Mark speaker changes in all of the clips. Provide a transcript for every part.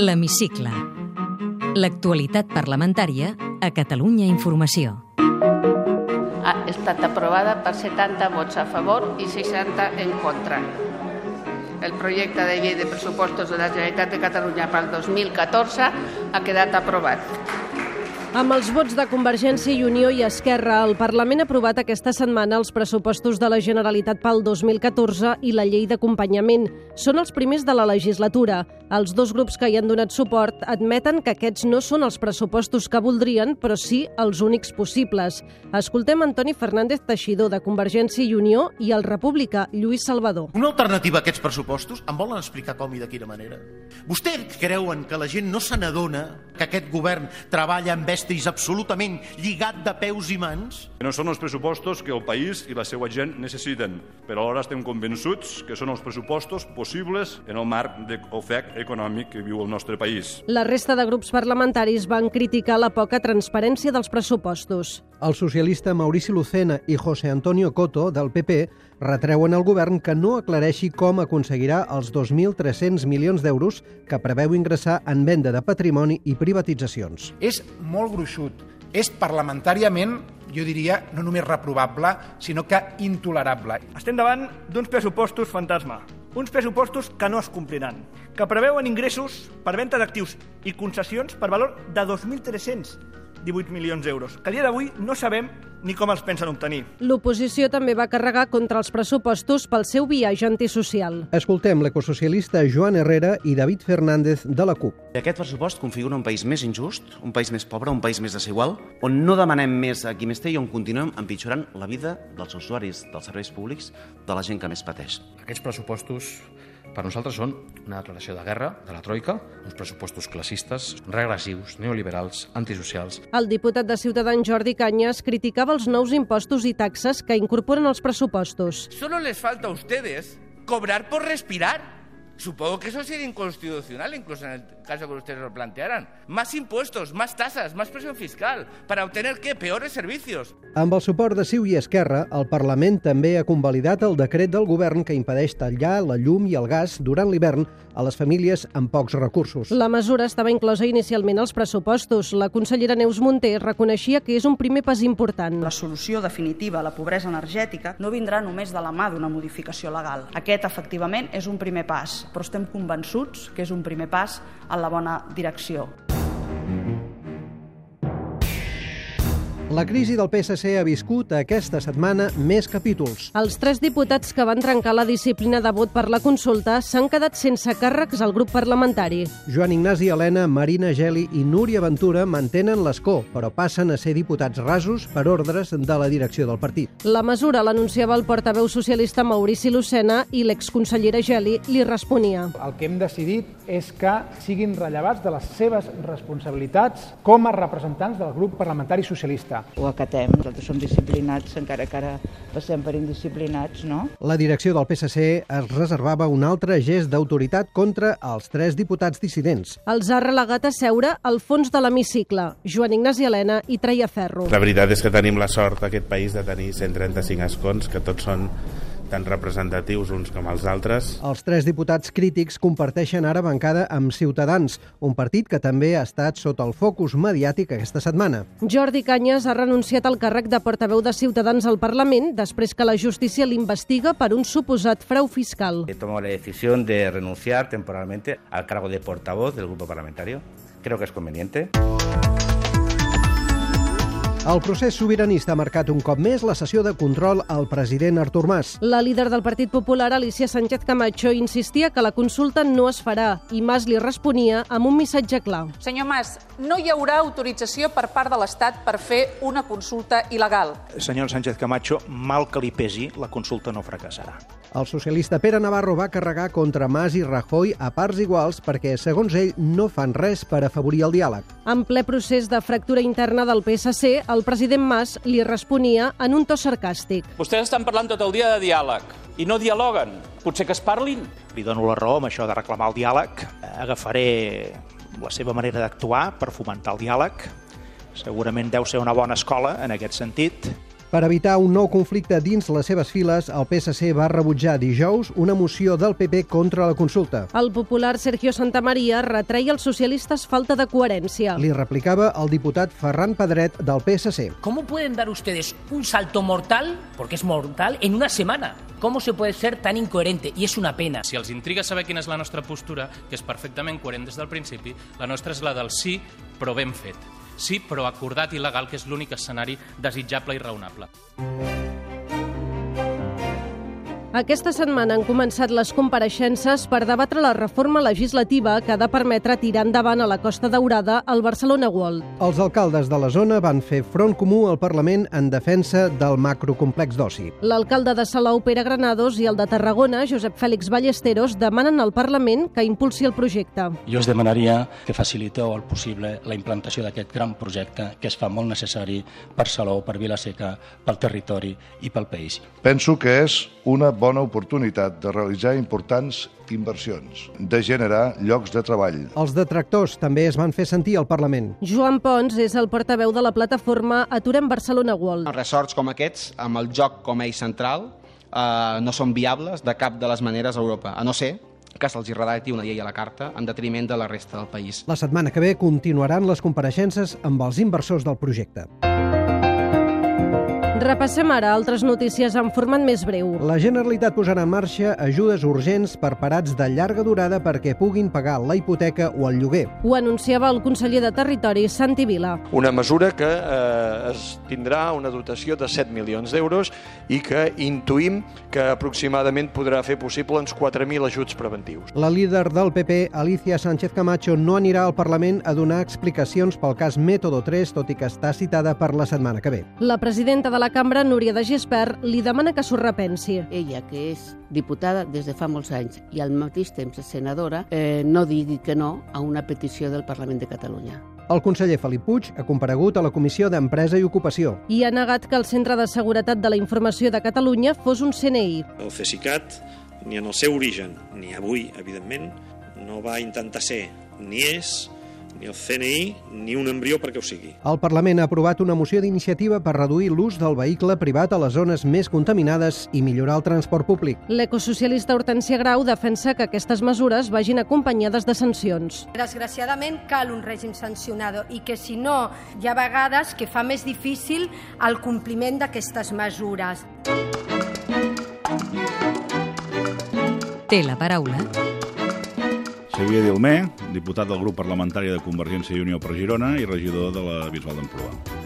Speaker 1: L'Hemicicle. L'actualitat parlamentària a Catalunya Informació.
Speaker 2: Ha estat aprovada per 70 vots a favor i 60 en contra. El projecte de llei de pressupostos de la Generalitat de Catalunya per al 2014 ha quedat aprovat.
Speaker 3: Amb els vots de Convergència i Unió i Esquerra, el Parlament ha aprovat aquesta setmana els pressupostos de la Generalitat pel 2014 i la llei d'acompanyament. Són els primers de la legislatura. Els dos grups que hi han donat suport admeten que aquests no són els pressupostos que voldrien, però sí els únics possibles. Escoltem Antoni Fernández Teixidor, de Convergència i Unió, i el republicà Lluís Salvador.
Speaker 4: Una alternativa a aquests pressupostos? Em volen explicar com i de quina manera? Vostès creuen que la gent no se n'adona que aquest govern treballa amb estris absolutament lligat de peus i mans?
Speaker 5: No són els pressupostos que el país i la seva gent necessiten, però alhora estem convençuts que són els pressupostos possibles en el marc d'ofec econòmic que viu el nostre país.
Speaker 3: La resta de grups parlamentaris van criticar la poca transparència dels pressupostos.
Speaker 6: El socialista Maurici Lucena i José Antonio Coto, del PP, retreuen al govern que no aclareixi com aconseguirà els 2.300 milions d'euros que preveu ingressar en venda de patrimoni i privatitzacions.
Speaker 7: És molt gruixut, és parlamentàriament, jo diria, no només reprovable, sinó que intolerable.
Speaker 8: Estem davant d'uns pressupostos fantasma, uns pressupostos que no es compliran, que preveuen ingressos per venda d'actius i concessions per valor de 2.318 milions d'euros, que a dia d'avui no sabem ni com els pensen obtenir.
Speaker 3: L'oposició també va carregar contra els pressupostos pel seu viatge antisocial.
Speaker 6: Escoltem l'ecosocialista Joan Herrera i David Fernández de la CUP.
Speaker 9: Aquest pressupost configura un país més injust, un país més pobre, un país més desigual, on no demanem més a qui més té i on continuem empitjorant la vida dels usuaris, dels serveis públics, de la gent que més pateix.
Speaker 10: Aquests pressupostos per nosaltres són una declaració de guerra de la Troika, uns pressupostos classistes, regressius, neoliberals, antisocials.
Speaker 3: El diputat de Ciutadans Jordi Canyes criticava els nous impostos i taxes que incorporen els pressupostos.
Speaker 11: Solo les falta a ustedes cobrar por respirar. Supongo que eso sería inconstitucional, incluso en el caso que ustedes lo plantearan. Más impuestos, más tasas, más presión fiscal, para obtener qué? Peores servicios.
Speaker 6: Amb el suport de Ciu i Esquerra, el Parlament també ha convalidat el decret del govern que impedeix tallar la llum i el gas durant l'hivern a les famílies amb pocs recursos.
Speaker 3: La mesura estava inclosa inicialment als pressupostos. La consellera Neus Monter reconeixia que és un primer pas important.
Speaker 12: La solució definitiva a la pobresa energètica no vindrà només de la mà d'una modificació legal. Aquest, efectivament, és un primer pas, però estem convençuts que és un primer pas en la bona direcció.
Speaker 6: La crisi del PSC ha viscut aquesta setmana més capítols.
Speaker 3: Els tres diputats que van trencar la disciplina de vot per la consulta s'han quedat sense càrrecs al grup parlamentari.
Speaker 6: Joan Ignasi Helena, Marina Geli i Núria Ventura mantenen l'escó, però passen a ser diputats rasos per ordres de la direcció del partit.
Speaker 3: La mesura l'anunciava el portaveu socialista Maurici Lucena i l'exconsellera Geli li responia.
Speaker 13: El que hem decidit és que siguin rellevats de les seves responsabilitats com a representants del grup parlamentari socialista
Speaker 14: ho acatem. Nosaltres som disciplinats, encara que ara passem per indisciplinats, no?
Speaker 6: La direcció del PSC es reservava un altre gest d'autoritat contra els tres diputats dissidents.
Speaker 3: Els ha relegat a seure al fons de l'hemicicle, Joan Ignasi Helena i Treia Ferro.
Speaker 15: La veritat és que tenim la sort, aquest país, de tenir 135 escons, que tots són tan representatius uns com els altres.
Speaker 6: Els tres diputats crítics comparteixen ara bancada amb Ciutadans, un partit que també ha estat sota el focus mediàtic aquesta setmana.
Speaker 3: Jordi Canyes ha renunciat al càrrec de portaveu de Ciutadans al Parlament després que la justícia l'investiga per un suposat frau fiscal.
Speaker 16: He tomado la decisión de renunciar temporalmente al cargo de portavoz del grupo parlamentario. Creo que es conveniente.
Speaker 6: El procés sobiranista ha marcat un cop més la sessió de control al president Artur Mas.
Speaker 3: La líder del Partit Popular, Alicia Sánchez Camacho, insistia que la consulta no es farà i Mas li responia amb un missatge clar.
Speaker 17: Senyor Mas, no hi haurà autorització per part de l'Estat per fer una consulta il·legal.
Speaker 18: Senyor Sánchez Camacho, mal que li pesi, la consulta no fracassarà.
Speaker 6: El socialista Pere Navarro va carregar contra Mas i Rajoy a parts iguals perquè, segons ell, no fan res per afavorir el diàleg.
Speaker 3: En ple procés de fractura interna del PSC, el president Mas li responia en un to sarcàstic.
Speaker 19: Vostès estan parlant tot el dia de diàleg i no dialoguen. Potser que es parlin?
Speaker 18: Li dono la raó amb això de reclamar el diàleg. Eh, Agafaré la seva manera d'actuar per fomentar el diàleg. Segurament deu ser una bona escola en aquest sentit.
Speaker 6: Per evitar un nou conflicte dins les seves files, el PSC va rebutjar dijous una moció del PP contra la consulta.
Speaker 3: El popular Sergio Santamaría retreia als socialistes falta de coherència.
Speaker 6: Li replicava el diputat Ferran Pedret del PSC.
Speaker 20: ¿Cómo pueden dar ustedes un salto mortal, porque es mortal, en una semana? ¿Cómo se puede ser tan incoherente? Y es una pena.
Speaker 19: Si els intriga saber quina és la nostra postura, que és perfectament coherent des del principi, la nostra és la del sí, però ben fet. Sí, però acordat i legal, que és l'únic escenari desitjable i raonable.
Speaker 3: Aquesta setmana han començat les compareixences per debatre la reforma legislativa que ha de permetre tirar endavant a la Costa Daurada el Barcelona World.
Speaker 6: Els alcaldes de la zona van fer front comú al Parlament en defensa del macrocomplex d'oci.
Speaker 3: L'alcalde de Salou, Pere Granados, i el de Tarragona, Josep Fèlix Ballesteros, demanen al Parlament que impulsi el projecte.
Speaker 21: Jo us demanaria que faciliteu el possible la implantació d'aquest gran projecte que es fa molt necessari per Salou, per Vilaseca, pel territori i pel país.
Speaker 22: Penso que és una bona oportunitat de realitzar importants inversions, de generar llocs de treball.
Speaker 6: Els detractors també es van fer sentir al Parlament.
Speaker 3: Joan Pons és el portaveu de la plataforma Aturem Barcelona World.
Speaker 23: Els resorts com aquests, amb el joc com a eix central, eh, no són viables de cap de les maneres a Europa, a no ser que se'ls hi redacti una llei a la carta en detriment de la resta del país.
Speaker 6: La setmana que ve continuaran les compareixences amb els inversors del projecte.
Speaker 3: Repassem ara altres notícies en format més breu.
Speaker 6: La Generalitat posarà en marxa ajudes urgents per parats de llarga durada perquè puguin pagar la hipoteca o el lloguer.
Speaker 3: Ho anunciava el conseller de Territori, Santi Vila.
Speaker 24: Una mesura que eh, es tindrà una dotació de 7 milions d'euros i que intuïm que aproximadament podrà fer possible uns 4.000 ajuts preventius.
Speaker 6: La líder del PP, Alicia Sánchez Camacho, no anirà al Parlament a donar explicacions pel cas Método 3, tot i que està citada per la setmana que ve.
Speaker 3: La presidenta de la cambra, Núria de Gispert, li demana que s'ho repensi.
Speaker 25: Ella, que és diputada des de fa molts anys i al mateix temps senadora, eh, no digui que no a una petició del Parlament de Catalunya.
Speaker 6: El conseller Felip Puig ha comparegut a la Comissió d'Empresa i Ocupació.
Speaker 3: I ha negat que el Centre de Seguretat de la Informació de Catalunya fos un CNI.
Speaker 26: El CECICAT, ni en el seu origen, ni avui, evidentment, no va intentar ser ni és ni el CNI, ni un embrió perquè ho sigui.
Speaker 6: El Parlament ha aprovat una moció d'iniciativa per reduir l'ús del vehicle privat a les zones més contaminades i millorar el transport públic.
Speaker 3: L'ecosocialista Hortència Grau defensa que aquestes mesures vagin acompanyades de sancions.
Speaker 27: Desgraciadament cal un règim sancionador i que si no hi ha vegades que fa més difícil el compliment d'aquestes mesures.
Speaker 1: Té la paraula
Speaker 28: Xavier Dilmé, diputat del grup parlamentari de Convergència i Unió per Girona i regidor de la Bisbal d'Empordà.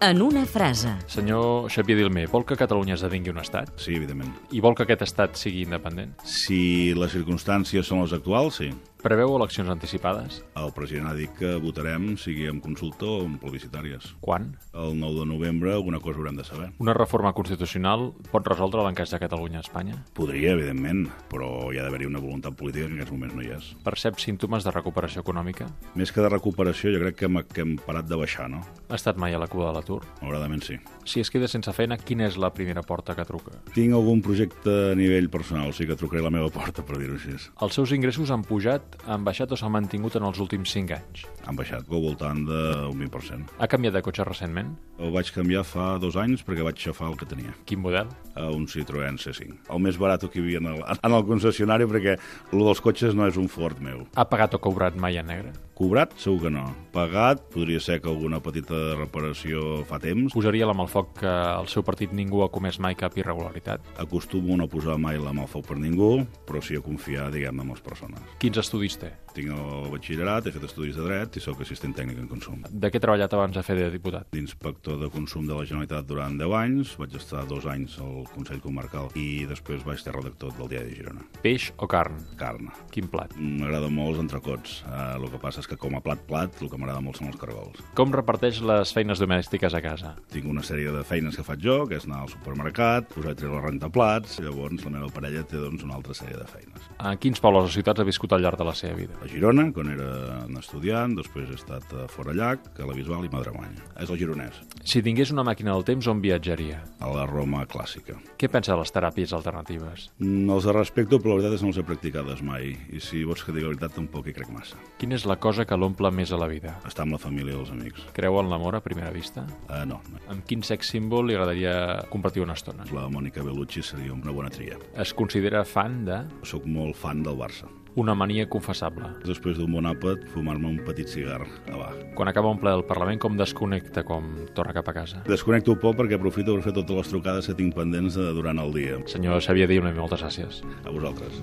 Speaker 1: En una frase.
Speaker 29: Senyor Xavier Dilmé, vol que Catalunya esdevingui un estat?
Speaker 28: Sí, evidentment.
Speaker 29: I vol que aquest estat sigui independent?
Speaker 28: Si les circumstàncies són les actuals, sí.
Speaker 29: Preveu eleccions anticipades?
Speaker 28: El president ha dit que votarem, sigui amb consulta o amb plebiscitàries.
Speaker 29: Quan?
Speaker 28: El 9 de novembre alguna cosa haurem de saber.
Speaker 29: Una reforma constitucional pot resoldre l'encaix de Catalunya a Espanya?
Speaker 28: Podria, evidentment, però hi ha d'haver-hi una voluntat política que en aquests moments no hi és.
Speaker 29: Percep símptomes de recuperació econòmica?
Speaker 28: Més que de recuperació, jo crec que hem, que hem parat de baixar, no?
Speaker 29: Ha estat mai a la cua de l'atur?
Speaker 28: Malauradament sí.
Speaker 29: Si es queda sense feina, quina és la primera porta que truca?
Speaker 28: Tinc algun projecte a nivell personal, sí que trucaré a la meva porta, per dir-ho així.
Speaker 29: Els seus ingressos han pujat han baixat o s'han mantingut en els últims 5 anys?
Speaker 28: Han baixat al voltant d'un 20%.
Speaker 29: Ha canviat de cotxe recentment?
Speaker 28: El vaig canviar fa dos anys perquè vaig xafar el que tenia.
Speaker 29: Quin model?
Speaker 28: Uh, un Citroën C5. El més barat que hi havia en el, en el concessionari perquè el dels cotxes no és un Ford meu.
Speaker 29: Ha pagat o cobrat mai en negre?
Speaker 28: Cobrat segur que no. Pagat podria ser que alguna petita reparació fa temps.
Speaker 29: Posaria la mà al foc que al seu partit ningú ha comès mai cap irregularitat?
Speaker 28: Acostumo a no posar mai la mà al foc per ningú, però sí a confiar, diguem, en les persones.
Speaker 29: Quins estudis té?
Speaker 28: Tinc el batxillerat, he fet estudis de dret i sóc assistent tècnic en consum.
Speaker 29: De què he treballat abans de fer de diputat?
Speaker 28: D'inspector de consum de la Generalitat durant 10 anys, vaig estar dos anys al Consell Comarcal i després vaig ser redactor del Diari de Girona.
Speaker 29: Peix o carn?
Speaker 28: Carn.
Speaker 29: Quin plat?
Speaker 28: M'agrada molt els entrecots. Uh, el que passa és que com a plat plat el que m'agrada molt són els cargols.
Speaker 29: Com reparteix les feines domèstiques a casa?
Speaker 28: Tinc una sèrie de feines que faig jo, que és anar al supermercat, posar a treure la rentaplats, llavors la meva parella té doncs, una altra sèrie de feines.
Speaker 29: A quins pobles o ciutats ha viscut al llarg de la seva vida?
Speaker 28: A Girona, quan era un estudiant, després he estat a Forallac, a la Bisbal i Madremanya. És el gironès,
Speaker 29: Si tingués una màquina del temps, on viatjaria?
Speaker 28: a la Roma clàssica.
Speaker 29: Què pensa de les teràpies alternatives?
Speaker 28: Mm, Els de respecto, però la veritat és que no els he practicades mai. I si vols que digui la veritat, tampoc hi crec massa.
Speaker 29: Quina és la cosa que l'omple més a la vida?
Speaker 28: Estar amb la família i els amics.
Speaker 29: Creu en l'amor a primera vista?
Speaker 28: Uh, no, no.
Speaker 29: Amb quin sex símbol li agradaria compartir una estona?
Speaker 28: La Mònica Bellucci seria una bona tria.
Speaker 29: Es considera fan de
Speaker 28: Soc molt fan del Barça.
Speaker 29: una mania confessable.
Speaker 28: Després d'un bon àpat, fumar-me un petit cigar a va.
Speaker 29: Quan acaba un ple del Parlament, com desconnecta, com torna cap a casa?
Speaker 28: Desconnecto poc perquè aprofito per fer totes les trucades que tinc pendents de, durant el dia.
Speaker 29: Senyor Xavier Diona, moltes gràcies.
Speaker 28: A vosaltres.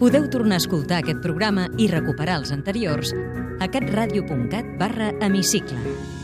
Speaker 1: Podeu tornar a escoltar aquest programa i recuperar els anteriors a catradio.cat barra hemicicle.